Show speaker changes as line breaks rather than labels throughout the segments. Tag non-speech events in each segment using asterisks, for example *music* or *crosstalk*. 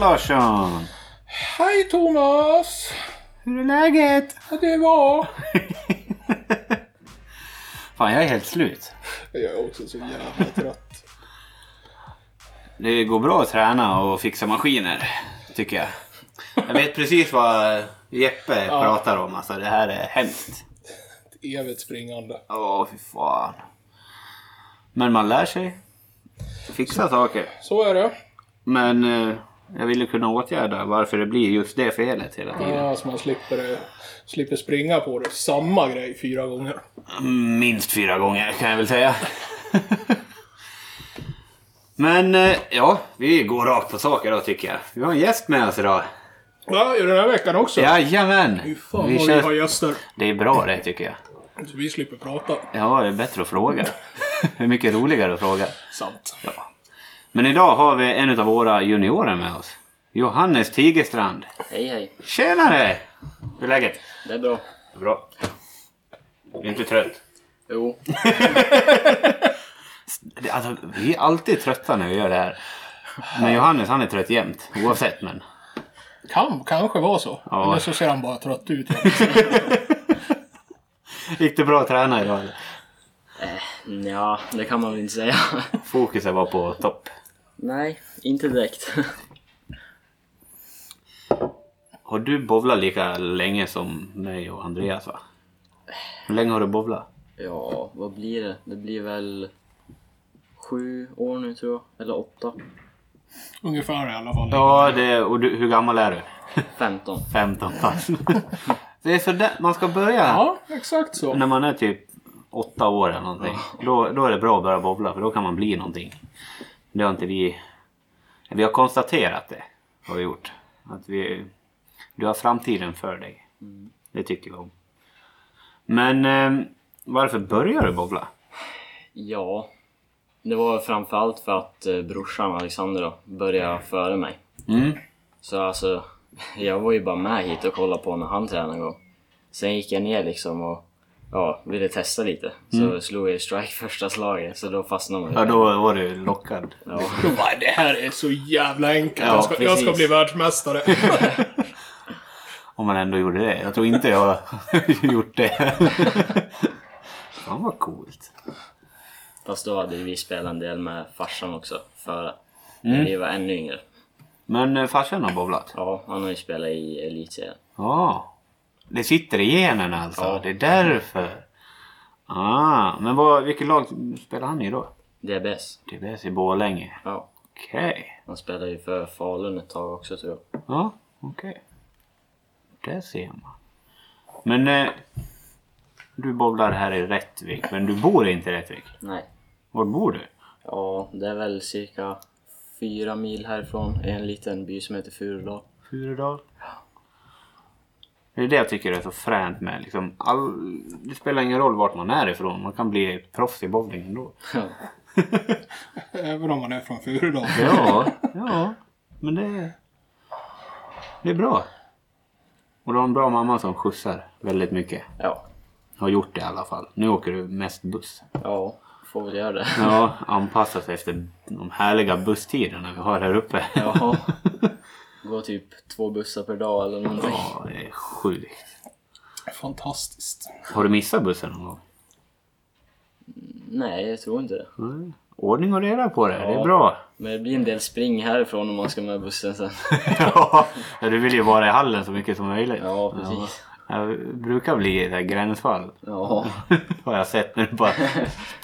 Larsson!
Hej Thomas!
Hur är läget?
Ja, Det var...
Fan, jag är helt slut.
Jag är också så jävla trött.
Det går bra att träna och fixa maskiner, tycker jag. Jag vet precis vad Jeppe pratar om. Alltså, det här är hemskt.
Ett evigt springande.
Åh, fy fan. Men man lär sig. Fixa saker.
Så är det.
Men eh, jag ville kunna åtgärda varför det blir just det felet hela tiden.
Ja, så man slipper, slipper springa på det. Samma grej fyra gånger.
Minst fyra gånger kan jag väl säga. Men eh, ja, vi går rakt på sak idag tycker jag. Vi har en gäst med oss idag.
Ja, i den här veckan också.
Jajamän!
Fy fan
Vi
vad vi
kör-
har gäster.
Det är bra det tycker jag.
Så vi slipper prata.
Ja, det är bättre att fråga. Det är mycket roligare att fråga.
Sant.
Ja. Men idag har vi en av våra juniorer med oss. Johannes Tigerstrand.
Hej hej,
Tjenare! Hur är läget?
det är bra.
Bra. Du är inte trött?
Jo,
Det- *laughs* Alltså, vi är alltid trötta när vi gör det här. Men Johannes han är trött jämt. Oavsett men.
Kan kanske vara så.
Ja.
Eller så ser han bara trött ut.
Gick det bra att träna idag? eller?
ja, det kan man väl inte säga.
Fokuset var på topp.
*laughs* Nej, inte direkt.
Har du bowlat lika länge som mig och Andreas va? Hur länge har du bowlat?
*laughs* Ja, vad blir det? Det blir väl sju år nu tror jag, eller åtta.
Ungefär i alla fall.
Ja, det, och du, hur gammal är du?
15.
15 fast. *laughs* Det är så där, man ska börja
Ja, exakt så.
när man är typ åtta år eller någonting. Då, då är det bra att börja bowla för då kan man bli någonting. Det har inte vi... Vi har konstaterat det. Har vi gjort. Att vi, du har framtiden för dig. Det tycker vi om. Men eh, varför börjar du bowla?
Ja, det var framförallt för att eh, brorsan Alexander då började före mig.
Mm.
Så alltså, *laughs* jag var ju bara med hit och kollade på när han tränade en gång. Sen gick jag ner liksom och ja, ville testa lite. Så slog jag i strike första slaget, så då fastnade man.
Mm. Ja, då var du lockad.
Ja.
Bara, det här är så jävla enkelt.
Ja,
jag, ska, jag ska
precis.
bli världsmästare. *laughs*
Om man ändå gjorde det. Jag tror inte jag *laughs* har gjort det. *laughs* Fan vad coolt.
Fast då hade vi spelat en del med farsan också före. Vi var ännu yngre.
Men eh, farsan har bowlat?
Ja, han har ju spelat i elitserien.
Ja. Det sitter i generna alltså?
Ja.
Det är därför? Ah, men vad, vilket lag spelar han i då?
DBS.
TBS i Borlänge.
Ja.
Okej.
Han spelade ju för Falun ett tag också tror jag.
Ja, okej. Där ser man. Men eh, du bowlar här i Rättvik, men du bor inte i Rättvik?
Nej.
Var bor du?
Ja, det är väl cirka fyra mil härifrån i en liten by som heter Furudal.
Furudal? Det är det jag tycker är så fränt med liksom all, Det spelar ingen roll vart man är ifrån, man kan bli proffs i bowling ändå.
Ja.
Även om man är från Furudal.
*laughs*
Ja, ja. Men det, det är bra. Och du har en bra mamma som skjutsar väldigt mycket.
*laughs* Ja.
Har gjort det i alla fall. Nu åker du mest buss.
Ja, får väl göra det. *laughs*
*laughs* Ja, anpassa sig efter de härliga busstiderna vi har här uppe.
Ja. Går typ två bussar per dag eller någonting.
*laughs* Ja, det är sjukt.
Fantastiskt.
Har du missat bussen någon gång?
Nej, jag tror inte det.
Nej. Ordning och reda på det, det är
Ja. *laughs*
bra.
Men det blir en del spring härifrån om man ska med bussen sen.
Ja, du vill ju vara i hallen så mycket som möjligt.
Ja, precis.
Ja, det brukar bli det här gränsfall.
Ja.
*laughs* Har jag sett när du bara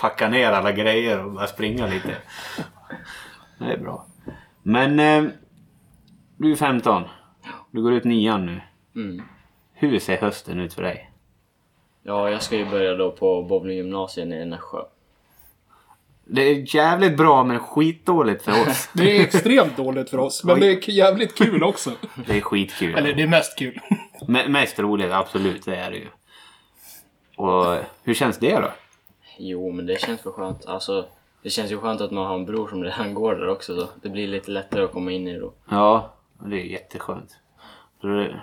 packar ner alla grejer och bara springa lite. Det är bra. Men eh, du är 15. Du går ut nian nu.
Mm.
Hur ser hösten ut för dig?
Ja, jag ska ju börja då på bowlinggymnasiet i Nässjö.
Det är jävligt bra men skitdåligt för
*laughs*
oss.
Det är extremt dåligt för oss, men det är jävligt kul också.
Det är skitkul.
*laughs* Eller det är mest kul. *laughs*
Me- mest roligt, absolut. Det är det ju. Och hur känns det då?
Jo, men det känns för skönt. Alltså, det känns ju skönt att man har en bror som redan går där också. Så det blir lite lättare att komma in i då.
Ja, det är jätteskönt. Så det-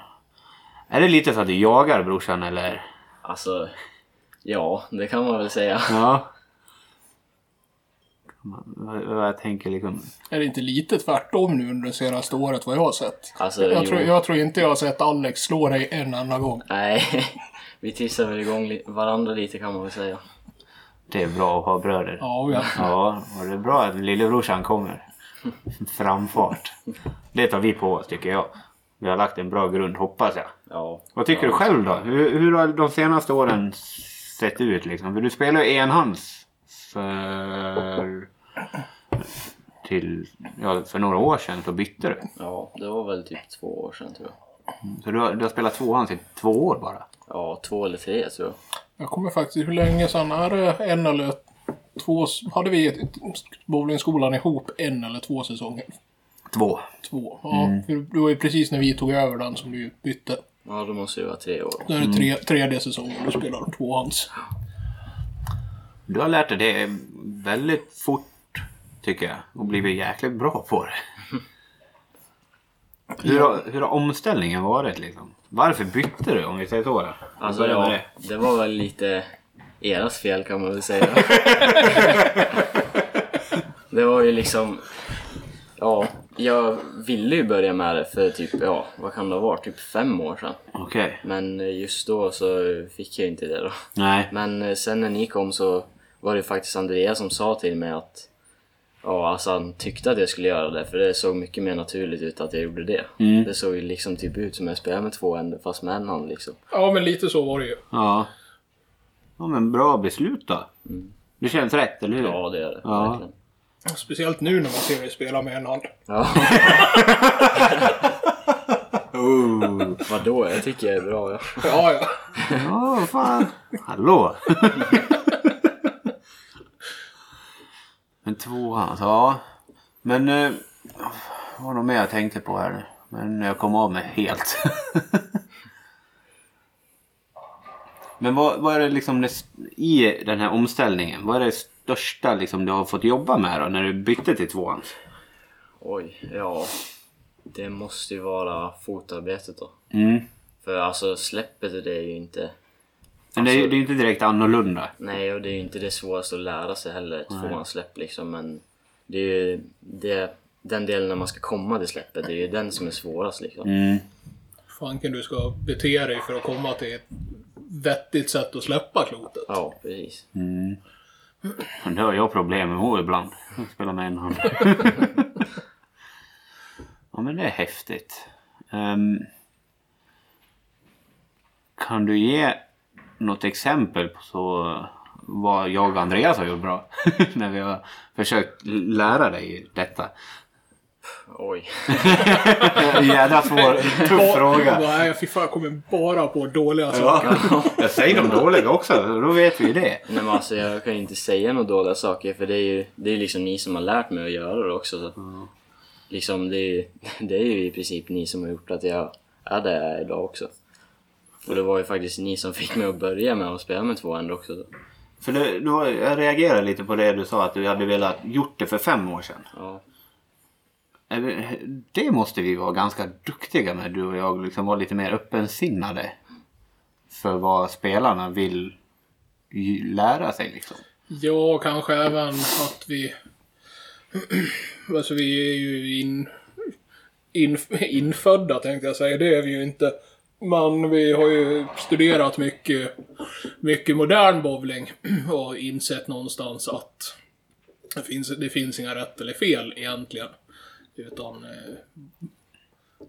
Är det lite så att du jagar brorsan eller?
Alltså, ja, det kan man väl säga.
Ja. Jag, jag tänker liksom...
Är det inte lite tvärtom nu under det senaste året vad jag har sett?
Alltså,
Jag
jo.
tror, jag tror inte jag har sett Alex slå dig en enda gång.
Nej, *laughs* vi tissar väl igång li- varandra lite kan man väl säga.
Det är bra att ha bröder.
Ja, ja.
Ja, och det är bra att lillebrorsan kommer. Framfart. Det tar vi på oss tycker jag. Vi har lagt en bra grund hoppas jag.
Ja.
Vad tycker du själv då? Hur, hur har de senaste åren sett ut liksom? För du spelar ju enhands för, till, ja, för några år sedan så bytte du.
Ja, det var väl typ två år sedan tror jag.
Så du har, du har spelat tvåhands i två år bara.
Ja, två eller tre tror jag.
Jag kommer faktiskt, hur länge sedan är det? En eller två? s- Hade vi ett- bowlingskolan ihop en eller två säsonger?
Två.
Två. Ja, för det var ju precis när vi tog över den som du bytte.
Ja, det måste ju vara tre år.
Då är det tre, tredje säsongen du spelar tvåhands.
Du har lärt dig det väldigt fort tycker jag och blivit jäkligt bra på det. Hur har, hur har omställningen varit liksom? Varför bytte du om vi säger så då? Vi
Alltså
börjar med
ja,
det.
det var väl lite eras fel kan man
*laughs*
väl säga. det var ju liksom... Ja, jag ville ju börja med det för typ, ja, vad kan det ha varit, typ fem år sedan.
Okej.
Men just då så fick jag inte det då.
Nej.
Men eh, sen när ni kom så var det faktiskt Andreas som sa till mig att ja, alltså han tyckte att jag skulle göra det för det såg mycket mer naturligt ut att jag gjorde det.
Mm.
Det såg ju liksom typ ut som jag spelade med två händer fast med en hand liksom.
Ja, men lite så var det ju.
Ja. Ja men bra beslut då. Det känns rätt, eller hur?
Mm. Ja, det är det.
Mm. Ja.
Verkligen.
Speciellt nu när man ser dig spela med en hand.
Ja.
Oh.
Vadå? Jag tycker jag är bra. Ja.
Ja, ja.
Ja, vad fan. Hallå! Men tvåan, alltså, ja. Men... Eh, vad var det mer jag tänkte på här nu? Men jag kom av mig helt. *laughs* Men vad, vad är det liksom det, st- i den här omställningen? Vad är det största liksom du har fått jobba med då när du bytte till tvåan?
Oj, ja. Det måste ju vara fotarbetet då.
Mm.
För alltså släppet är det ju inte...
Men det är ju
Alltså-
det är ju inte direkt annorlunda.
Nej, och det är ju inte det svåraste att lära sig heller, ett förhandssläpp liksom. Men det är ju det, den delen när man ska komma till släppet, det är ju den som är svårast liksom.
Mm.
Fanken du ska bete dig för att komma till ett vettigt sätt att släppa klotet.
Ja, precis.
Mm. Men Det har jag problem med ibland. Jag spelar med en *laughs* hand. ja men det är häftigt. Ehm, kan du ge något exempel på så vad jag och Andreas har gjort bra? *laughs* När vi har försökt lära dig detta.
Oj.
*laughs* Jädra svår, tuff fråga.
*laughs* Nej, fy fan, jag kommer bara på dåliga saker.
*laughs* Jag säger de dåliga också, då vet vi det.
Nej, men alltså, jag kan ju inte säga några dåliga saker för det är ju det är liksom ni som har lärt mig att göra det också. Så. att- Liksom, det, är ju, *laughs* det är ju i princip ni som har gjort att jag är där jag är idag också. Och det var ju faktiskt ni som fick mig att börja med att spela med två händer också. Så.
För det, det var, jag reagerade lite på det du sa att du hade velat gjort det för fem år sedan.
Ja.
Eller, Det måste vi vara ganska duktiga med du och jag. Liksom vara lite mer öppensinnade. För vad spelarna vill ju- lära sig liksom.
Ja, kanske även att vi... *clears throat* alltså vi är ju in... in... infödda tänkte jag säga. Det är vi ju inte. Men vi har ju studerat mycket, mycket modern bowling och insett någonstans att det finns, det finns inga rätt eller fel egentligen. Utan... Eh,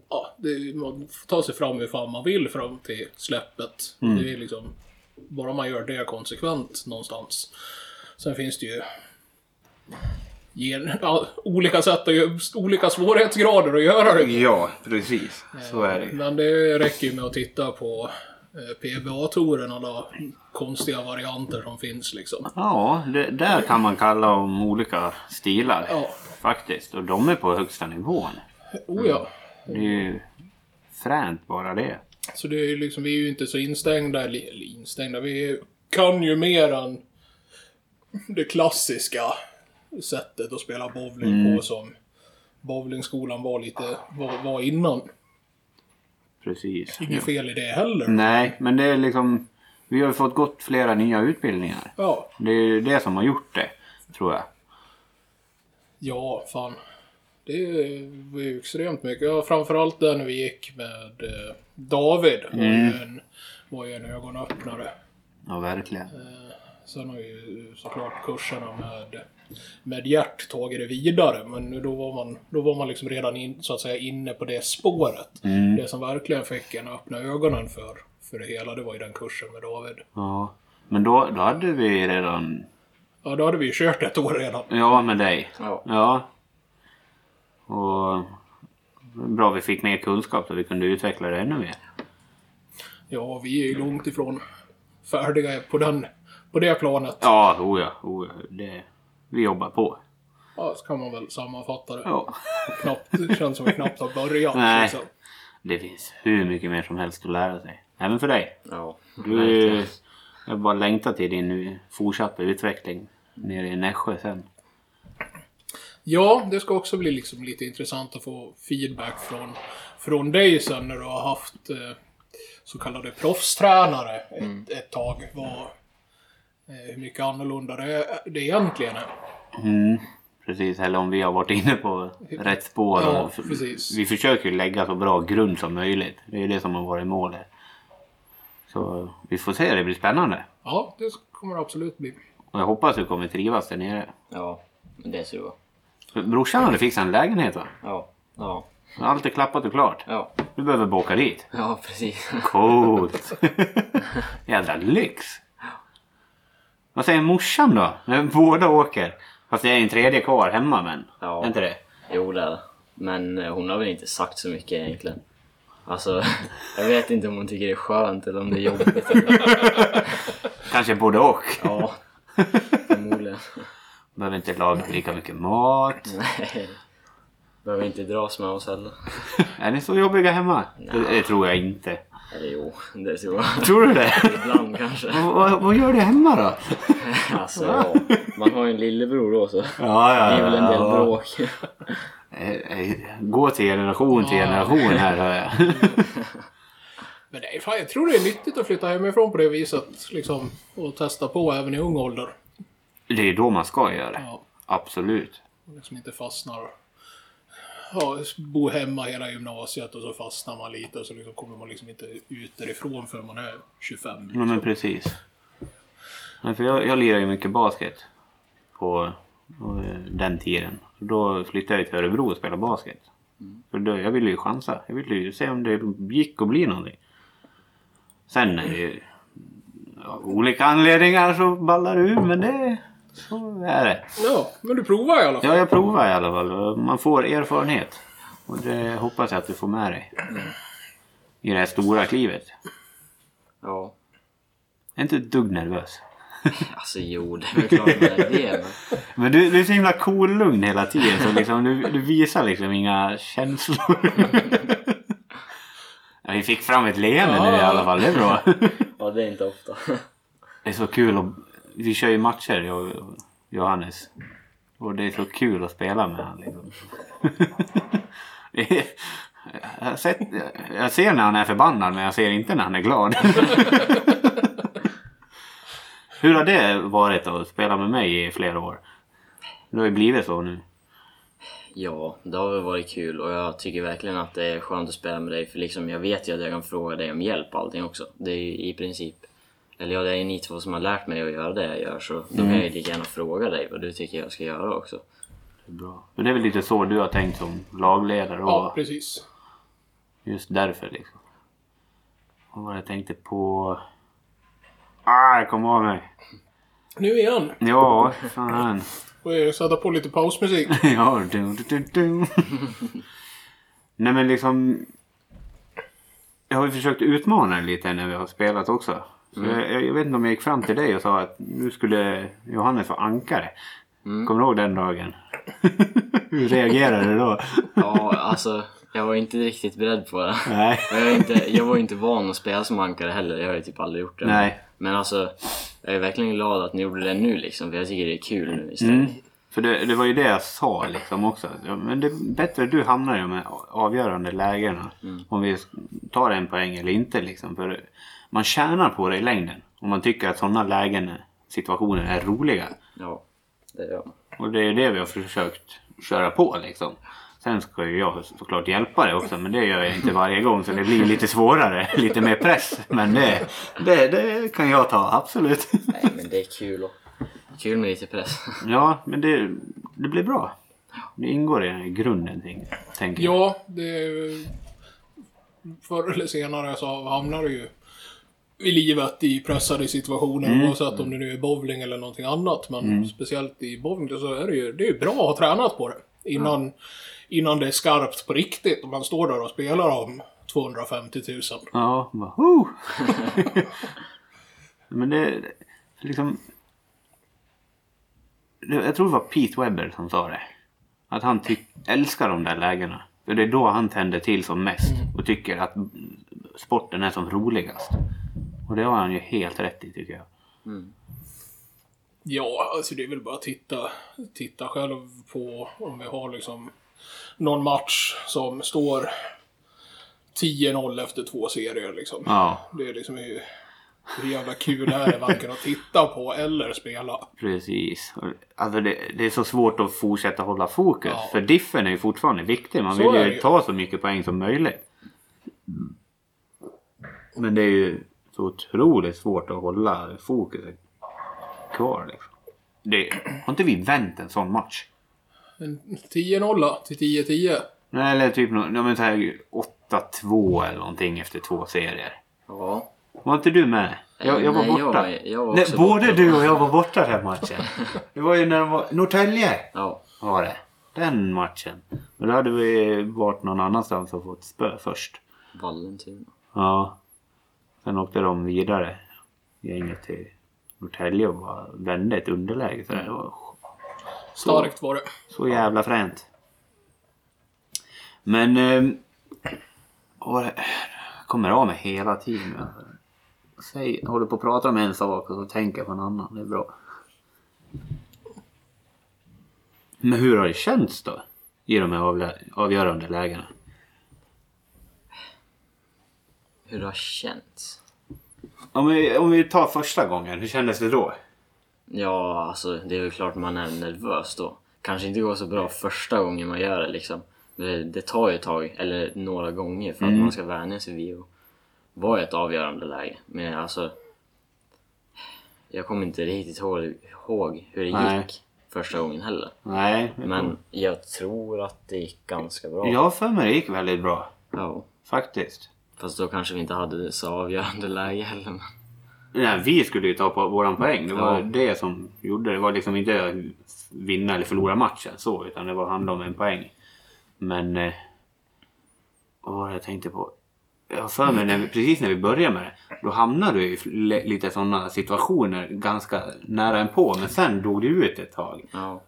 ja, det, man får ta sig fram hur fan man vill fram till släppet. Det är liksom... Bara man gör det konsekvent någonstans. Sen finns det ju gen, ja, olika sätt att gö- olika svårighetsgrader att göra det.
Ja, precis. Så är
Men det räcker ju med att titta på eh, PBA-touren alla konstiga varianter som finns liksom.
Ja, det, där kan man kalla om olika stilar.
Ja.
Faktiskt. Och de är på högsta nivån.
Oh ja.
Det är ju fränt bara det.
Så det är ju liksom, vi är ju inte så instängda, eller eller instängda, vi kan ju mer än det klassiska sättet att spela bowling på som bowlingskolan var lite, var, var innan.
Precis.
Inget fel i det heller.
Nej, men det är liksom... Vi har ju fått gått flera nya utbildningar.
Ja.
Det är ju det som har gjort det, tror jag.
Ja, fan. Det var ju extremt mycket. Ja, framförallt där när vi gick med eh, David. Var, ju en, var ju en ögonöppnare.
Ja, verkligen.
Sen har ju såklart kurserna med, med hjärt tagit det vidare. Men då var man, då var man liksom redan in, så att säga, inne på det spåret.
Mm.
Det som verkligen fick en att öppna ögonen för, för det hela, det var ju den kursen med David.
Ja. Men då, då hade vi redan...
Ja, då hade vi ju kört ett år redan.
Ja, med dig.
Ja.
Ja. Och bra vi fick mer kunskap så vi kunde utveckla det ännu mer.
Ja, vi är ju långt ifrån färdiga på, den, på det planet.
Ja, oh ja, oh ja. Det, vi jobbar på.
Ja, så kan man väl sammanfatta det.
Ja.
Knappt, det känns som vi knappt har börjat.
Nej.
liksom.
Det finns hur mycket mer som helst att lära sig. Även för dig.
Ja.
Du, jag bara längtar till din fortsatta utveckling nere i Nässjö sen.
Ja, det ska också bli liksom lite intressant att få feedback från, från dig sen när du har haft eh, så kallade proffstränare ett, ett tag. Vad, eh, hur mycket annorlunda det, eh, det egentligen är.
Mm, precis, eller om vi har varit inne på rätt spår.
Ja,
och f-
precis.
Vi försöker ju lägga så bra grund som möjligt. Det är ju det som har varit målet. Så vi får se, det blir spännande.
Ja, det kommer det absolut bli.
Och jag hoppas du kommer trivas där nere.
Ja, men det ser du vara.
Brorsan hade fixat en lägenhet va?
Ja. Ja.
Allt är klappat och klart.
Ja.
Du behöver bara åka dit.
Ja, *laughs* precis.
Coolt! *laughs* Jävla lyx! Vad säger morsan då? När båda åker. Fast det är en tredje kvar hemma men.
Ja.
Är inte det?
Jo, det är det. Men eh, hon har väl inte sagt så mycket egentligen. Alltså, *laughs* jag vet inte om hon tycker det är skönt eller om det är jobbigt. Eller...
Kanske både och.
Ja, förmodligen.
Behöver inte laga lika mycket mat.
*laughs* Nej. Behöver inte dras med oss heller.
Är ni så jobbiga hemma? Det, det tror jag inte.
Eller jo, det
*laughs*
tror jag.
Tror du det?
Ibland kanske.
vad, vad- vad gör du hemma då?
Alltså, ja. Man har ju en lillebror då så.
Ja,
Det
ja,
är väl en del bråk.
Eh, eh, Gå till generation till
Ja.
generation här hör
*laughs*
jag.
Men nej, fan, jag tror det är nyttigt att flytta hemifrån på det viset. Liksom, och testa på även i ung ålder.
Det är ju då man ska göra det.
Ja,
Absolut.
liksom inte fastnar. Ja, bo hemma hela gymnasiet och så fastnar man lite och så liksom kommer man liksom inte ut därifrån förrän man är 25.
Ja men precis. Men för jag, jag lirar ju mycket basket på eh, den tiden. Så då flyttade jag till Örebro och spelade basket.
Mm.
För då, jag ville ju chansa. Jag ville ju se om det gick att bli någonting. Sen är det ju av olika anledningar så ballar det ur men det så är det.
Ja, men du provar i alla fall.
Ja jag provar i alla fall. Man får erfarenhet. Och det hoppas jag att du får med dig. I det här stora klivet.
Ja.
Jag är inte ett dugg nervös.
Alltså jo, det är väl klart man är det. Men...
Men du, du är så himla cool lugn hela tiden så liksom, du, du visar liksom inga känslor. Ja, vi fick fram ett leende nu i alla fall, det är bra.
Ja, det är inte ofta.
Det är så kul att... Vi kör ju matcher jag och Johannes. Och det är så kul att spela med han liksom. *laughs* Det är- Jag har sett- jag ser när han är förbannad men jag ser inte när han är glad. *laughs* Hur har det varit att spela med mig i flera år? Det har ju blivit så nu.
Ja, det har väl varit kul och jag tycker verkligen att det är skönt att spela med dig för liksom jag vet ju att jag kan fråga dig om hjälp och allting också. Det är ju i princip, eller ja det är ju ni två som har lärt mig att göra det jag gör så då kan jag ju lika gärna fråga dig vad du tycker jag ska göra också.
Bra. Men det är väl lite så du har tänkt som lagledare och
Ja, precis.
just därför liksom. Och vad jag tänkte på... Ah, jag kom av mig.
Nu igen.
Ja, fan. *laughs*
Får jag sätta på lite pausmusik?
ja, du, du, du, du. Nej men liksom... Jag har ju försökt utmana dig lite när vi har spelat också. Så jag, jag vet inte om jag gick fram till dig och sa att nu skulle Johannes vara ankare. Kommer du ihåg den dagen? *laughs* Hur reagerade du då?
Ja, alltså jag var inte riktigt beredd på det.
Nej.
Och jag, är inte, jag var ju inte van att spela som ankare heller, jag har ju typ aldrig gjort det.
Nej.
Men alltså, jag är verkligen glad att ni gjorde det nu liksom för jag tycker det är kul nu istället.
Mm. För det, det var ju det jag sa liksom också. Ja, Men det är bättre att du hamnar i de här avgörande lägena. Om vi tar en poäng eller inte liksom. För man tjänar på det i längden. Om man tycker att sådana lägen, situationer är roliga.
Ja, det gör man.
Och det är det vi har försökt köra på liksom. Sen ska ju jag såklart hjälpa dig också men det gör jag inte varje gång så det blir lite svårare, *laughs* lite mer press. Men det, det, det kan jag ta, absolut. *laughs*
Nej, men det är kul och Kul med lite press. *laughs*
Ja, men det, det blir bra. Det ingår i grunden, tänk- tänker jag.
Ja, det... är- Förr eller senare så hamnar du ju i livet i pressade situationer oavsett om det nu är bowling eller någonting annat. Men speciellt i bowling så är det ju det är ju bra att ha tränat på det. Innan, innan det är skarpt på riktigt och man står där och spelar om 250 000.
Ja, bara, oh! *laughs* Men det liksom... det- Jag tror det var Pete Webber som sa det. Att han tyck, älskar de där lägena. För det är då han tänder till som mest och tycker att sporten är som roligast. Och det har han ju helt rätt i tycker jag.
Ja, alltså det är väl bara att titta, titta själv på om vi har liksom någon match som står 10-0 efter två serier liksom.
Ja,
Det är liksom hur, hur jävla kul det här är varken att titta på eller spela.
precis. Och- Alltså det, det är så svårt att fortsätta hålla fokus.
Ja.
För diffen är ju fortfarande viktig. Man
Så
vill
är det
ju
ju.
ta så mycket poäng som möjligt. Men det är ju så otroligt svårt att hålla fokuset kvar. Liksom. Det, har inte vi vänt en sån match?
En 10-0 till 10-10.
Nej, eller typ nå- ja, men så här 8-2 eller någonting efter två serier.
Ja.
Var inte du med? Jag, jag var
Nej, jag
borta.
var- jag var
Nej,
också
både
borta.
du och jag var borta den matchen. Det var ju när de var... Norrtälje!
Ja.
var det. Den matchen. Men då hade vi varit någon annanstans och fått spö först.
Vallentuna.
Ja. Sen åkte de vidare. Gänget till Norrtälje och bara vände ett underläge. Så det var
Starkt var det.
så jävla fränt. Men... ehm, vad var det? Jag kommer av mig hela tiden. Jag Säg, jag håller på att prata om en sak och så tänker jag på en annan. Det är bra. Men hur har det känts då? I de här avlä- avgörande lägena?
Hur det har känts?
Om vi, om vi tar första gången, hur kändes det då?
Ja, alltså det är väl klart man är nervös då. Kanske inte går så bra första gången man gör det liksom. Det, det tar ju ett tag, eller några gånger, för att man ska vänja sig vid att vara i ett avgörande läge. Men alltså... Jag kommer inte riktigt ihåg, ihåg hur det
Nej.
gick första gången heller.
Nej, jag
Men jag tror att det gick ganska bra.
jag har för mig det gick väldigt bra.
Ja.
Faktiskt.
Fast då kanske vi inte hade så avgörande läge heller. men-
Nej, vi skulle ju ta på våran poäng. Det var
Ja.
det som gjorde det. Det var liksom inte att vinna eller förlora matchen så, utan det var handla om en poäng. Men... Eh, vad var det jag tänkte på? Jag har för mig, när vi, precis när vi började med det, då hamnade du i fl- lite sådana situationer ganska nära en på men sen dog du ut ett tag.
Ja.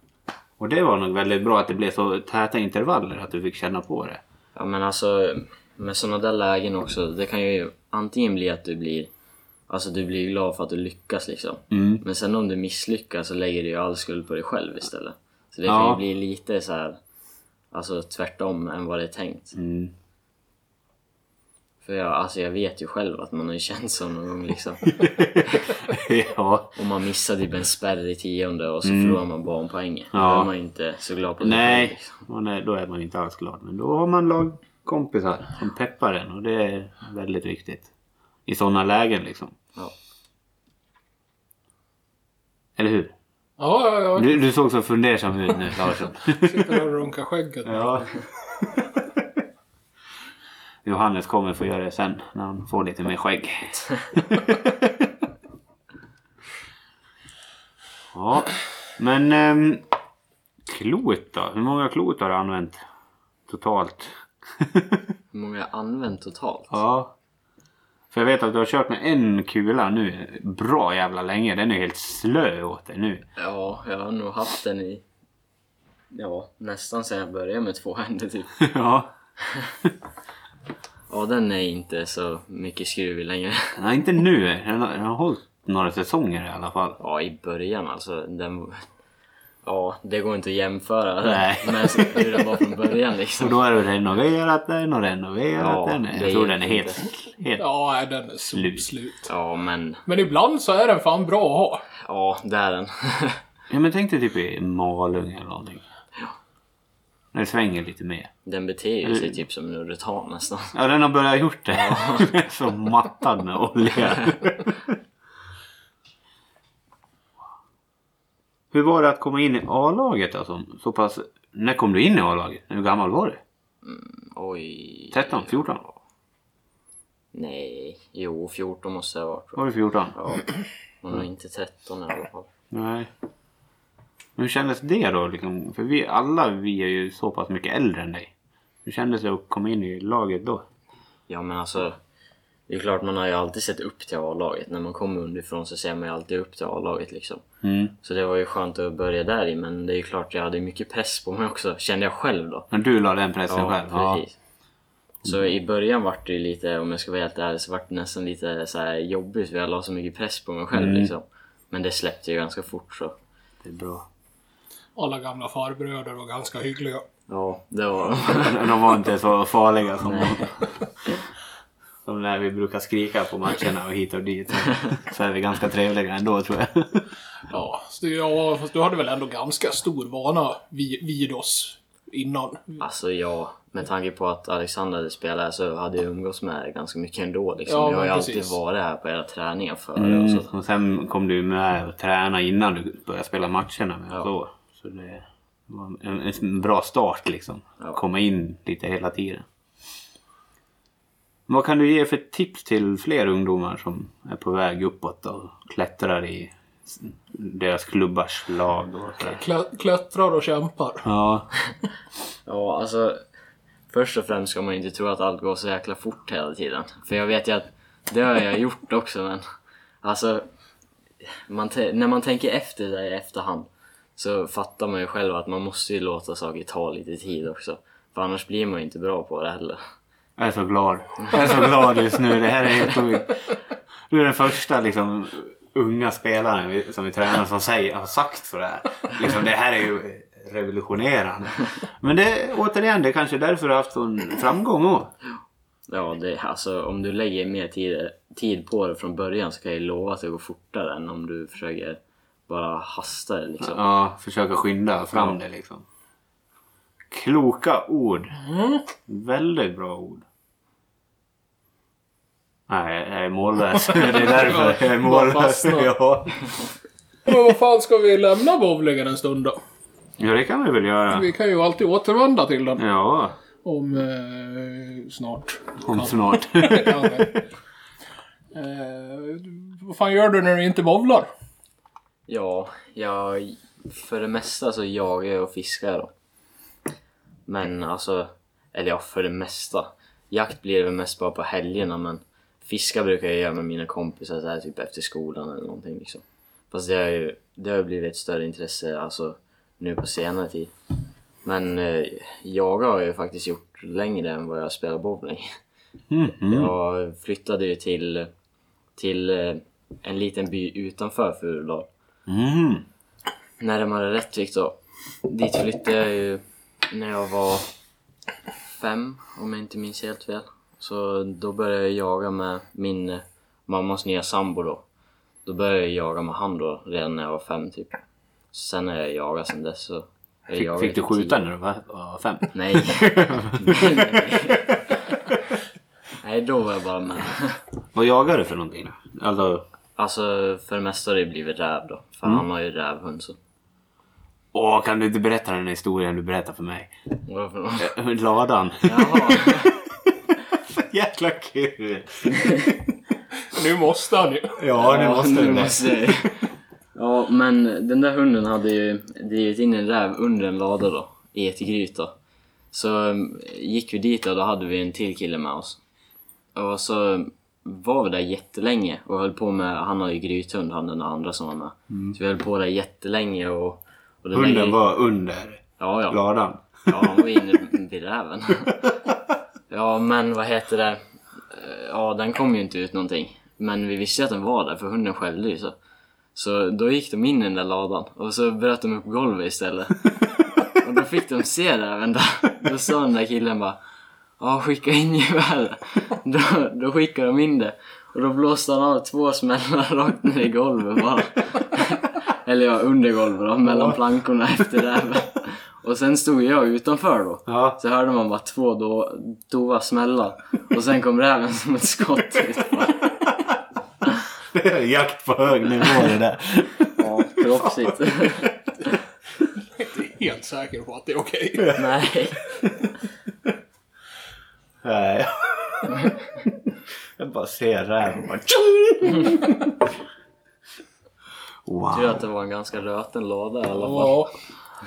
Och det var nog väldigt bra att det blev så täta intervaller, att du fick känna på det.
Ja men alltså med sådana där lägen också, det kan ju antingen bli att du blir Alltså du blir glad för att du lyckas liksom.
Mm.
Men sen om du misslyckas så lägger du ju all skuld på dig själv istället. Så det
Ja.
kan ju bli lite så här, alltså tvärtom än vad det är tänkt.
Mm. *laughs*
För jag, alltså, jag vet ju själv att man har ju *laughs* känt så någon gång liksom.
ja.
Om man missar typ en spärr i tionde och så förlorar man barnpoängen.
Mm. Ja.
Då är man ju inte så glad på sig själv.
Nej,
Liksom.
man är, då är man inte alls glad. Men då har man lagkompisar som peppar en och det är väldigt viktigt. I sådana lägen liksom.
Ja.
Eller hur?
Ja, ja, ja.
Du, du såg så fundersam ut nu Larsson.
Sitter där och runkar
*laughs*
skägget.
ja. Johannes kommer få göra det sen när han får lite mer skägg. *laughs* ja, men ehm, klot då? Hur många klot har du använt totalt? *laughs*
Hur många har jag använt totalt?
Ja. För jag vet att du har kört med en kula nu bra jävla länge. Den är helt slö åt dig nu.
Ja, jag har nog haft den i... Ja, nästan sen jag började med två händer typ.
*laughs* ja.
Ja, den är inte så mycket skruv i längre.
Nej, inte nu. Den har, den har hållit några säsonger i alla fall.
Ja, i början alltså. Den... Ja, det går inte att jämföra
Nej.
med hur den var från början liksom.
Och då har du renoverat den och renoverat
Ja,
den.
det
Jag
är
tror den är
inte-
helt... helt
Ja, nej, den är slut.
Slut.
slut.
Ja, men...
Men ibland så är den fan bra att ha.
Ja, där är den. *laughs*
ja, men tänk dig typ i Malung eller någonting. Den svänger lite mer.
Den beter ju sig typ som en urtan nästan.
Ja, den har börjat gjort det. Den är *laughs* så mattad med olja.
*laughs*
Hur var det att komma in i A-laget alltså? Så pass... När kom du in i A-laget? Hur gammal var du?
Oj.
13? 14?
Nej, jo 14 måste jag ha varit.
Var du 14?
Ja. Hon var inte 13 i alla fall.
Nej. Men Hur kändes det då? Liksom? För vi alla vi är ju så pass mycket äldre än dig. Hur kändes det att komma in i laget då?
Ja men alltså. Det är klart man har ju alltid sett upp till A-laget. När man kommer underifrån så ser man ju alltid upp till A-laget liksom.
Mm.
Så det var ju skönt att börja där i men det är ju klart jag hade mycket press på mig också kände jag själv då.
Men du la den pressen själv? Mm.
precis. Så i början vart det ju lite, om jag ska vara helt ärlig, så vart det nästan lite så här jobbigt för jag la så mycket press på mig själv
Mm.
liksom. Men det släppte ju ganska fort så.
Det är bra.
Alla gamla farbröder var ganska hyggliga.
Ja, det var
*laughs* De var inte så farliga som de. *laughs* Som när vi brukar skrika på matcherna och hit och dit. Så är vi ganska trevliga ändå tror jag.
Ja, så, ja fast du hade väl ändå ganska stor vana vid, vid oss innan.
Alltså ja, med tanke på att Alexander hade spelat så hade jag umgåtts med er ganska mycket ändå liksom.
Ja,
jag har ju
men
alltid
precis.
varit här på era träningar alltså. förr och
Mm.
så.
Och sen kom du med och tränade innan du började spela matcherna. Med
Ja.
så. så det var en, en bra start liksom.
Ja.
Komma in lite hela tiden. Vad kan du ge för tips till fler ungdomar som är på väg uppåt och klättrar i s- deras klubbars lag? Och sådär?
Klä, klättrar och kämpar.
ja.
Ja, alltså. Först och främst ska man ju inte tro att allt går så jäkla fort hela tiden. För jag vet ju att det har jag gjort också men. Alltså. Man te- när man tänker efter det i efterhand. Så fattar man ju själv att man måste ju låta saker ta lite tid också. För annars blir man ju inte bra på det heller.
Jag är så glad. Jag är så glad just nu. Det här är helt sjukt. Du är den första liksom, unga spelaren vi- som vi tränar som säger, har sagt sådär. Liksom, det här är ju revolutionerande. Men det, återigen, det är kanske är därför du har haft sån framgång också.
Ja, det, alltså om du lägger mer tid, tid på det från början så kan jag ju lova att det går fortare än om du försöker bara hasta det liksom.
Ja, försöka skynda fram det liksom. Kloka ord. Väldigt bra ord. Nej, jag är *laughs* mållös. Det är därför jag är
Bara
mållös.
fastnar.
Ja.
Men vad fan, ska vi lämna bowlingen en stund då?
ja, det kan vi väl göra.
Vi kan ju alltid återvända till den.
Ja,
Om eh, *laughs* snart.
om snart. *laughs* Mm,
Kanske. eh, vad fan gör du när du inte bowlar?
Ja, jag, för det mesta så jagar jag och fiskar då. Men alltså, eller ja, för det mesta. Jakt blir det väl mest bara på helgerna men fiska brukar jag göra med mina kompisar så här, typ efter skolan eller någonting liksom. Fast det har ju det har ju blivit ett större intresse alltså nu på senare tid. Men eh, jaga har jag ju faktiskt gjort längre än vad jag spelar bowling.
Mhm.
Jag flyttade ju till, till eh, en liten by utanför Furudal
Mm.
närmare Rättvik då. Dit flyttade jag ju när jag var fem, om jag inte minns helt fel. Så då började jag jaga med min eh, mammas nya sambo då. Då började jag jaga med han då, redan när jag var fem typ. Sen har jag jagat sen dess. Så jag
Fick,
jagade
fick du
till
skjuta
tio.
när du var var fem?
Nej.
*laughs*
nej, nej. nej, då var jag bara med.
Vad jagar du för någonting då? Alltså,
Alltså för det mesta har det blivit räv då. För
Mm.
han har ju
*laughs*
rävhund så.
åh, kan du inte berätta den här historien du berättade för mig? Eh,
Varför då?
Ladan.
Jaha.
*laughs* Jäkla kul!
Nu måste han ju.
Ja, nu måste
nu
du det.
måste jag. *laughs* Ja, men den där hunden hade ju drivit in en räv under en lada då, i ett gryt då. Så um, gick vi dit och då hade vi en till kille med oss. Och så var vi där jättelänge och höll på med, han har ju grythund han den andra som var med. Så vi höll på där jättelänge och... och den där
Mm. Hunden
gry-
var under
Ja, ja.
ladan.
Ja, han var inne vid räven. Ja, men vad heter det? Eh, Ja, den kom ju inte ut någonting. Men vi visste ju att den var där, för hunden skällde ju så. Så då gick de in i den där ladan och så bröt de upp golvet istället. Och då fick de se räven där. Då sa den där killen bara Ja, skicka in geväret. Då, då skickade de in det. Och då blåste han av två smällar rakt ner i golvet bara. Eller ja, under golvet då, mellan plankorna efter räven. Och sen stod jag utanför då.
Ja. *laughs*
Så hörde man bara två då, dova smälla. Och sen kom räven som ett skott ut. bara.
Det är jakt på hög nivå det där.
*laughs* Ja, proffsigt.
Jag är inte helt säker på att det är okej.
*laughs* Nej.
Nej. *laughs* Jag bara ser räven *laughs* och bara...
Tur
Wow.
att det var en ganska röten låda i alla fall.
Ja.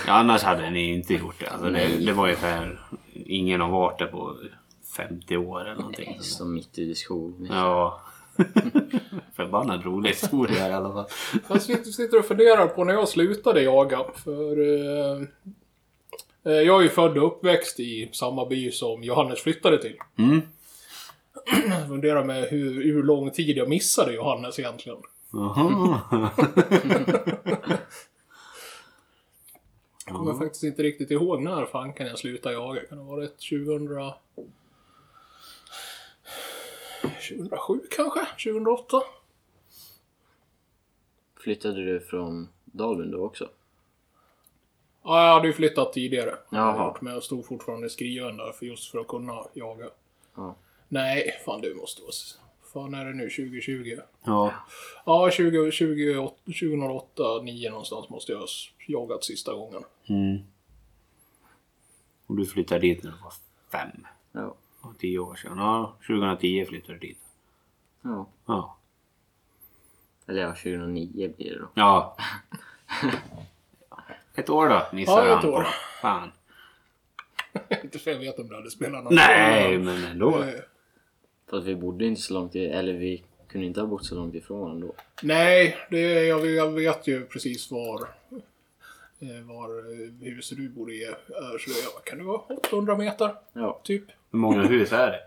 Ja, annars hade ni inte gjort det. Alltså, det, det var ju så här, ingen har varit där på 50 år eller någonting.
Som mitt ute i skogen.
Ja. *laughs* Förbannat rolig historia i alla fall.
Jag sitter, sitter och funderar på när jag slutade jaga. För eh, eh, jag är ju född och uppväxt i samma by som Johannes flyttade till.
Mm.
*clears throat* Jag funderar med hur, hur lång tid jag missade Johannes egentligen.
Jaha.
Jag
Mm.
kommer faktiskt inte riktigt ihåg när fan kan jag sluta jaga. Kan det ha varit 2000... 2007 kanske? 2008?
Flyttade du från Dalund då också?
Ja, jag hade ju flyttat tidigare.
Jaha.
Jaha. Men jag stod fortfarande skriven där för just för att kunna jaga.
Ja.
Nej, fan du måste vara... s- Fan är det nu? 2020?
Ja.
Ja, 20, 20, 2008, 9 någonstans måste jag ha s- jagat sista gången. *laughs*
Mm. Och du flyttade dit när du var fem.
Ja.
Och tio år sedan. Ja, 2010 flyttade du dit.
ja.
Ja.
Eller ja, 2009 blir det då.
Ja. Ett år då missade
Ja, ett
han på.
år.
Fan.
inte för jag vet om det hade spelat någon
Nej, men ändå.
Eh,
För att vi bodde inte så långt i, eller vi kunde inte ha bott så långt ifrån ändå.
Nej, det, jag, vet- jag vet ju precis var, eh, var eh, huset du bor i är. Eh, Så jag, kan det vara 800 meter?
Ja.
Typ.
Hur många hus är det?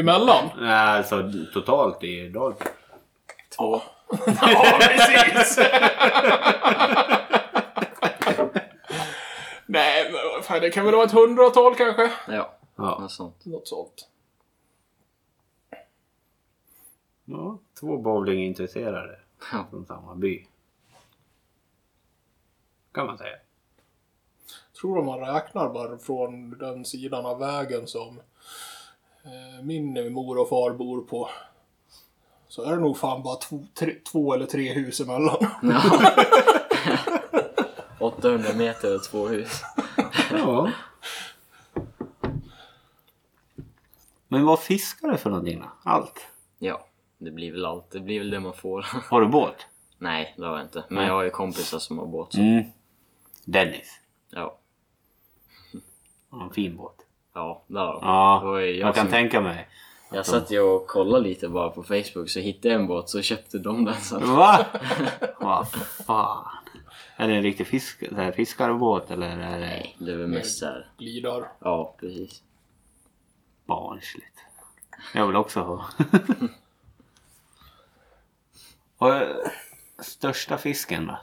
Emellan?
Nej, alltså totalt i Dalby.
Två. *laughs* ja, precis! *laughs* Nej, men vad fan, det kan väl vara ett hundratal kanske?
Ja.
Ja.
Något sånt.
Något sånt.
ja. Två bowlingintresserade
Ja.
från samma by. Kan man säga.
Tror de man räknar bara från den sidan av vägen som eh, min mor och far bor på. Så är det nog fan bara två, tre, två eller tre hus emellan.
800 meter och två hus.
Ja. Men vad fiskar du för någonting då? Allt?
Ja. Det blir väl allt. Det blir väl det man får.
Har du båt?
Nej, det har jag inte. Men jag har ju kompisar som har båt. Så.
Mm. Dennis.
Ja.
Har en fin båt.
Ja, det har de. Det
Ja,
var ju
jag
jag,
kan
som,
tänka mig.
jag satt ju och kollade lite bara på Facebook så hittade jag en båt så köpte de den sen.
*laughs* Va? Vad fan. Är det en riktig fisk, så här fiskarbåt eller är det
Nej, det är väl mest såhär.
Glidar.
Ja, precis.
barnsligt? Jag vill också ha. *laughs* Och, eh, största fisken då?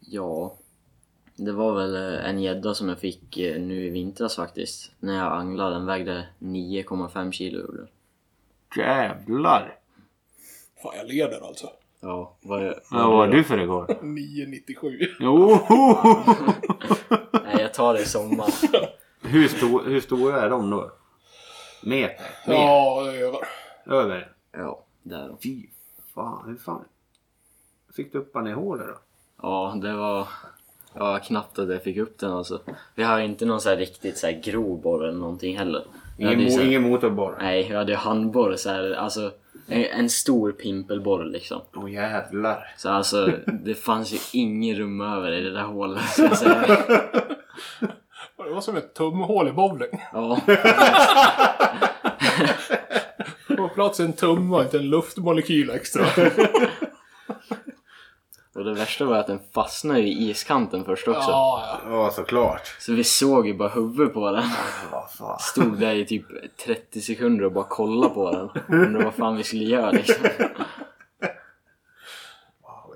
Ja. Det var väl eh, en gädda som jag fick eh, nu i vintras faktiskt. När jag anglade. Den vägde 9,5 kilo gjorde den.
Jävlar!
Fan, jag leder alltså.
Ja, vad jag...
Vad var du för *laughs* igår?
997.
Oho!
Nej, jag tar det i sommar.
*laughs* Hur, stor, hur stora är de då? Meter? Mer?
Ja, det är över.
Över?
Ja, där då.
Fy fan, hur fan fick du upp han i hålet då?
Ja, det var... Ja, knappt att jag fick upp den alltså. Vi har ju inte någon så här riktigt så här grov borre eller någonting heller. Vi hade
Ingen,
ju så
mo-
här-
ingen motorborr?
Nej, jag hade ju handborre så här, alltså en, en stor pimpelborre liksom.
Åh jävlar!
Så alltså, det fanns ju ingen rum över i det där hålet ska jag säga.
Det var som ett tumhål i bowling.
Ja,
På plats en tumme och inte en luftmolekyl *laughs* extra.
och det värsta var att den fastnade ju i iskanten först också.
Ja, ja.
Ja såklart!
Så vi såg ju bara huvudet på den.
Vad fan.
Stod där i typ 30 sekunder och bara kollade på den. Undrade vad fan vi skulle göra liksom.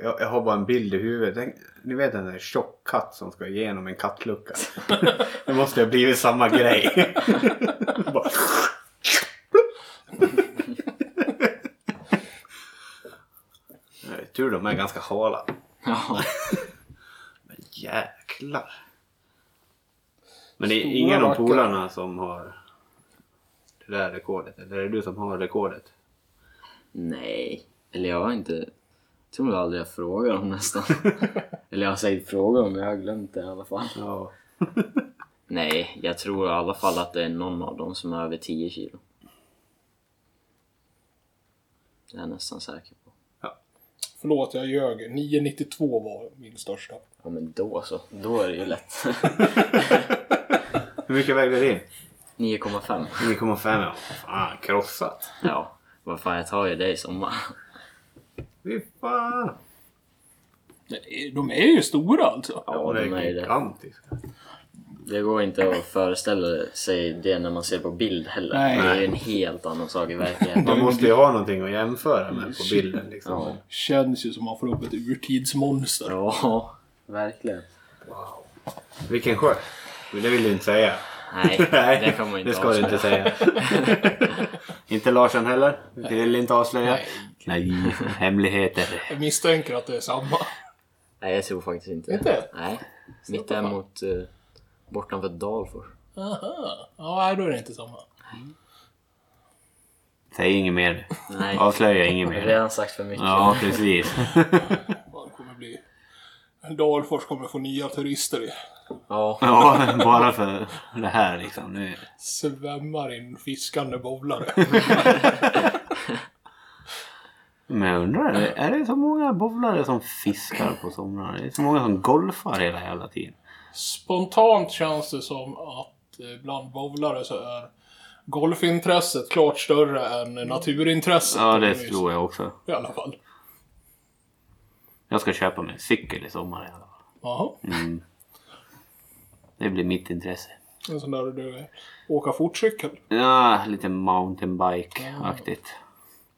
Jag, jag har bara en bild i huvudet. Den, ni vet den där tjock katt som ska igenom en kattlucka. Det måste ha blivit samma grej. *laughs* bara... Nej, Tur de är ganska hala.
Ja,
Men jäklar. Men det är
Stora
ingen av
backar.
polarna som har det där rekordet? Eller är det du som har rekordet?
Nej. Eller jag har inte... Jag tror nog aldrig jag frågar dem nästan. Eller jag har säkert frågat dem, men jag har glömt det i alla fall.
Ja.
Nej, jag tror i alla fall att det är någon av dem som är över 10 kilo. Det är jag nästan säker på.
Förlåt, jag ljög. 992 var min största.
Ja men då så, då är det ju lätt. *laughs*
Hur mycket vägde din?
9,5.
9,5 ja. Fan, krossat.
Ja, vad fan jag tar ju det i sommar.
Fy fan.
De är ju stora alltså.
Ja,
det
de är
är
ju det.
gigantiska.
Det går inte att föreställa sig det när man ser på bild heller.
Nej.
Det är ju en helt annan sak i verkligheten.
Man måste ju ha någonting att jämföra med på bilden liksom.
Ja.
Känns ju som man får upp ett urtidsmonster.
Ja, verkligen.
Vilken sjö. Men det vill du inte säga.
*laughs* Nej,
*laughs*
det kan man inte
det ska du inte säga.
*laughs*
inte Larsson heller. Det vill inte avslöja. Nej, hemligheter.
Jag misstänker att det är samma.
Nej, jag tror faktiskt inte
Inte?
Nej. Mitt däremot eh, bortanför Dalfors.
Aha. Ja, nej, då är det inte samma.
Säg inget mer.
Nej,
Avslöja inget
jag har
mer.
redan sagt för mycket.
Ja, precis.
Man kommer bli... Dalfors kommer få nya turister. i.
Ja.
Ja, bara för det här liksom. Nu.
Svämmar in fiskande bowlare.
Men jag undrar, är det så många bowlare som fiskar på somrarna? Det är så många som golfar hela jävla tiden.
Spontant känns det som att eh, bland bowlare så är golfintresset klart större än naturintresset.
Mm. Ja, det
Åtminstone
tror jag också.
I alla fall.
Jag ska köpa mig en cykel i sommar i alla fall.
Jaha.
Mm. Det blir mitt intresse.
En sån där du åka fortcykel.
Ja, lite mountainbike-aktigt.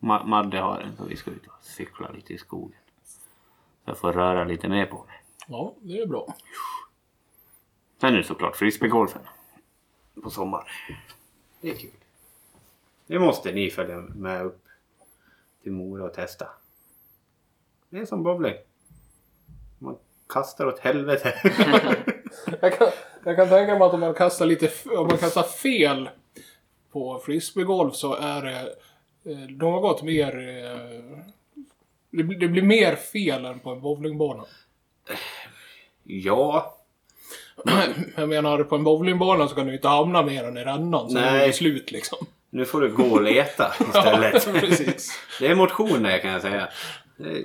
Ma- Madde har en så vi ska ut och cykla lite i skogen. Så jag får röra lite mer på mig.
Ja, det är bra.
Sen är det såklart frisbeegolfen. På sommaren. Det är kul. Det måste ni följa med upp till Mora och testa. Det är som bowling. Man kastar åt helvete.
*laughs*
*laughs*
Jag kan, jag kan tänka mig att om man kastar lite, f- om man kastar fel på frisbeegolf så är det eh, något mer... Eh, det, blir- det blir mer fel än på en bowlingbana.
ja,
*clears throat* Jag menar, på en bowlingbana så kan du inte hamna mer än i rännan. Så är
Nej.
det slut liksom.
nu får du gå och leta istället.
*laughs* Ja, precis.
Det är motion det kan jag säga. Det eh,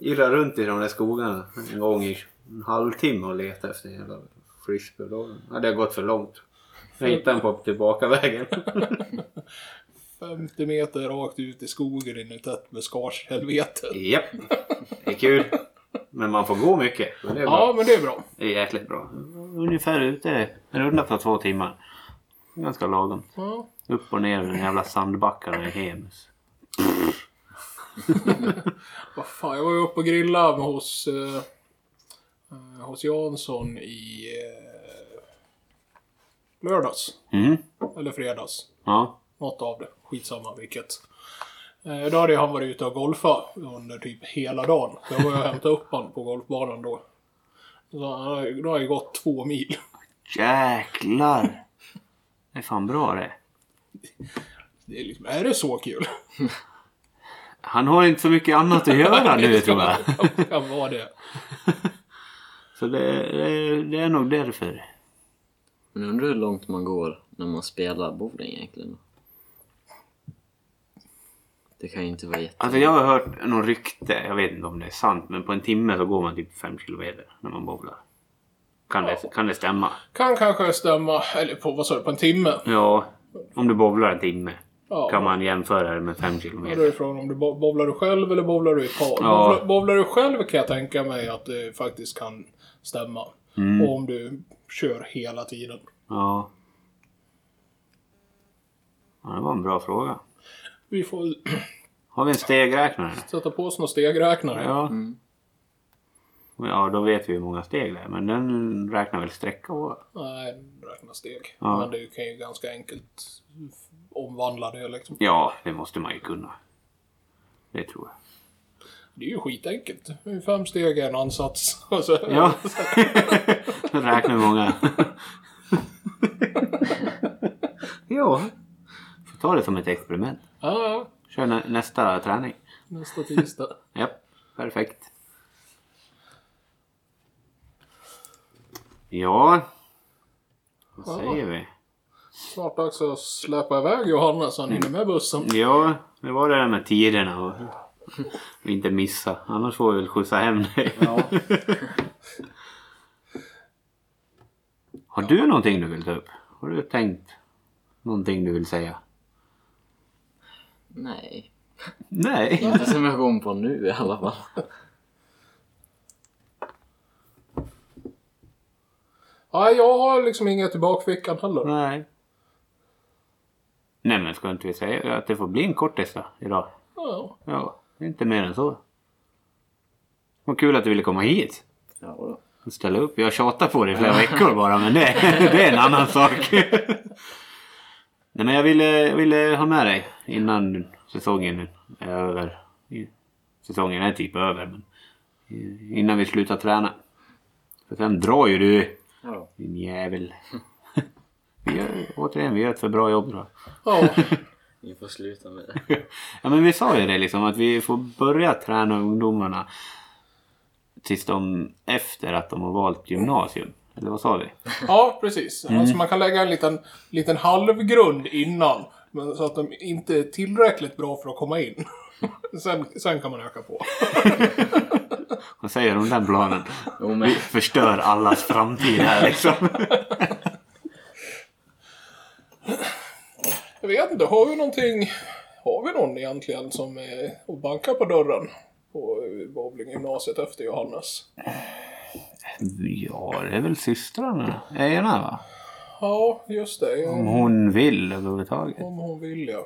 irrar runt i de där skogarna en gång i en halvtimme och letar efter en jävla frisbee. Då hade jag gått för långt. Jag hittade den på *laughs* tillbakavägen.
50 meter rakt ut i skogen in i ett tätt buskagehelvete.
Japp, det är kul. Men man får gå mycket. Men det är,
Ja,
bra.
men det är bra.
Det är jäkligt bra. Ungefär ute, en runda tar två timmar. Ganska lagom.
Ja.
Upp och ner den jävla sandbackarna i Hemus.
Vad fan, jag var ju uppe och grillade med hos, eh, eh, hos Jansson i eh, lördags.
Mm,
Eller fredags.
ja.
Något av det. Skitsamma vilket. Eh, då hade han varit ute och golfa under typ hela dagen. Så jag var och hämtade upp honom på golfbanan då. Så han har ju- då har jag gått två mil.
Jäklar! Det är fan bra det.
Det är, liksom, är det så kul?
Han har inte så mycket annat att *laughs* göra nu tror jag.
Det kan vara det.
Så det, det, det är nog därför.
Men undrar hur långt man går när man spelar bowling egentligen. Det kan ju inte vara jätte...
Alltså jag har hört någon rykte, jag vet inte om det är sant, men på en timme så går man typ 5 kilometer när man bowlar. Kan, det, kan det stämma?
Kan kanske stämma, eller på, vad sa du, på en timme?
Ja, om du bowlar en timme
Ja.
kan man jämföra det med 5
Ja, då är
kilometer.
det frågan om du bo- bowlar du själv eller bowlar du i par.
Ja.
Bowlar, bowlar du själv kan jag tänka mig att det faktiskt kan stämma.
Mm.
Och om du kör hela tiden.
Ja. ja. Det var en bra fråga.
Vi får
Har vi en stegräknare?
*clears throat* sätta på oss någon stegräknare.
Ja. Ja, då vet vi hur många steg det är, men den räknar väl sträcka och...
Nej, räkna steg.
Ja.
Men du kan ju ganska enkelt omvandla det liksom.
Ja, det måste man ju kunna. Det tror jag.
Det är ju skitenkelt. Det är Fem
*laughs*
steg, *laughs* en ansats. Och så,
Ja. Räkna hur många. Ja. Får ta det som ett experiment.
Ja, ja.
Kör nä- nästa träning.
Nästa tisdag.
Japp, perfekt. Ja. Vad
Ja.
säger vi?
Snart dags att släppa iväg Johannes. Han hinner med
Mm.
bussen.
Ja, det var det där med tiderna och, *laughs* och inte missa. Annars får vi väl skjutsa hem dig.
Ja.
*laughs* Har du någonting du vill ta upp? Har du tänkt någonting du vill säga?
Nej.
Nej.
Inte som jag kom på nu i alla fall.
Ja, jag har liksom inget i bakfickan heller.
Nej. Nej men ska inte vi säga att det får bli en kortis då, idag?
Ja,
Ja, det är inte mer än så. Vad kul att du ville komma hit
Ja, då.
och ställa upp. Jag tjatar på dig i flera veckor bara men det, det är en annan sak. Nej men jag ville, jag ville ha med dig innan säsongen är över. I- Säsongen är typ över men i- innan vi slutar träna. För sen drar ju du
Ja, då.
din jävel. Vi gör, återigen, vi gör ett för bra jobb tror jag.
ja.
Vi får sluta med
*laughs*
det.
Ja men vi sa ju det liksom att vi får börja träna ungdomarna tills de efter att de har valt gymnasium. Eller vad sa vi?
ja precis. Alltså, man kan lägga en liten, liten halvgrund innan. Men så att de inte är tillräckligt bra för att komma in. *laughs* Sen, sen kan man öka på.
Vad säger du om den planen?
Jo, men
Vi förstör allas framtid här liksom.
Jag vet inte, har vi någonting... Har vi någon egentligen som är och bankar på dörren på eh, bowlinggymnasiet efter Johannes?
Ja, det är väl systrarna. Ena va?
Ja, just det.
Om
Om,
hon vill överhuvudtaget.
om hon vill ja.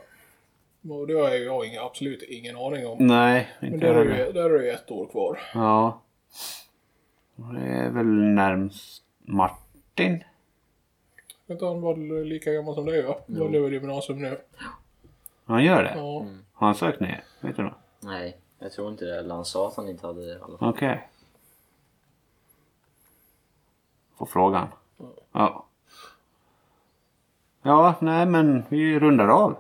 Och det har jag ingen, absolut ingen aning om.
Mm, Nej,
Men
inte
där är
heller.
ju, där är ju ett år kvar.
Ja. Det är väl närmst Martin.
Vet du, han var lika gammal som dig va? Han lever i gymnasium nu.
Han gör det?
Ja.
Har han sökt ner? Vet du något?
nej, jag tror inte det. Han sa att han inte hade det i alla fall.
Okej. På frågan. Ja. Ja, nej men vi rundar av.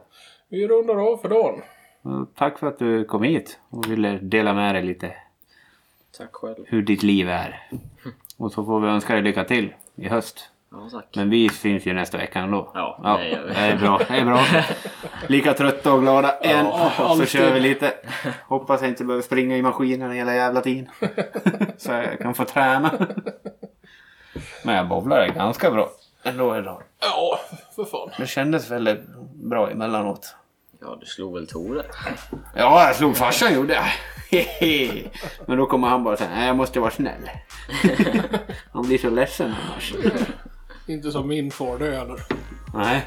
Vi rundar av för dagen.
Och Tack för att du kom hit och ville dela med dig lite
Tack själv.
hur ditt liv är. Och så får vi önska dig lycka till i höst.
Ja, tack.
Men vi syns ju nästa vecka ändå.
Ja,
ja
det gör vi.
det är bra. Det är
*laughs*
bra. Lika trötta och glada än. och så
alltid.
kör vi lite. Hoppas jag inte behöver springa i maskinen hela jävla
*laughs*
tiden. så jag kan få träna. Men jag bowlade ganska bra ändå idag.
Ja, för fan.
Det kändes väldigt bra emellanåt.
Ja, du slog väl Tore?
Ja, jag slog farsan gjorde jag. *laughs* Hehe. Men då kommer han bara säga, nej jag måste vara snäll. *laughs* han blir så ledsen annars.
Inte som min far det heller.
Nej.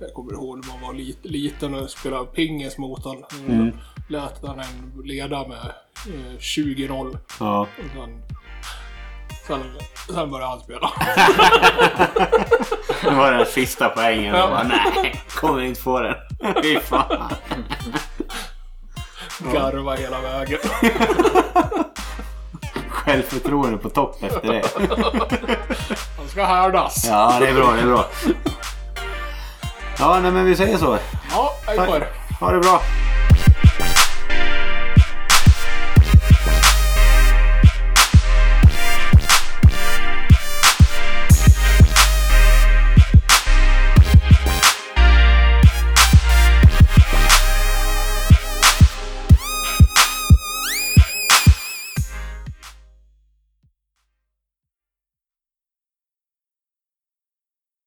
Jag kommer ihåg när man var lit, liten och spelade pingis mot honom. Lät han en leda med eh, 20-0.
Ja.
Och Sen, sen, sen började han spela.
Det var den sista poängen. Jag
Ja.
bara, nej, kommer inte få den. *laughs* Fy fan.
Garva hela vägen.
Självförtroende på topp efter det.
Han ska härdas. Ja,
Ja, det är bra, det är bra. Ja, nej men vi säger så.
ja hej på er.
Ha det bra.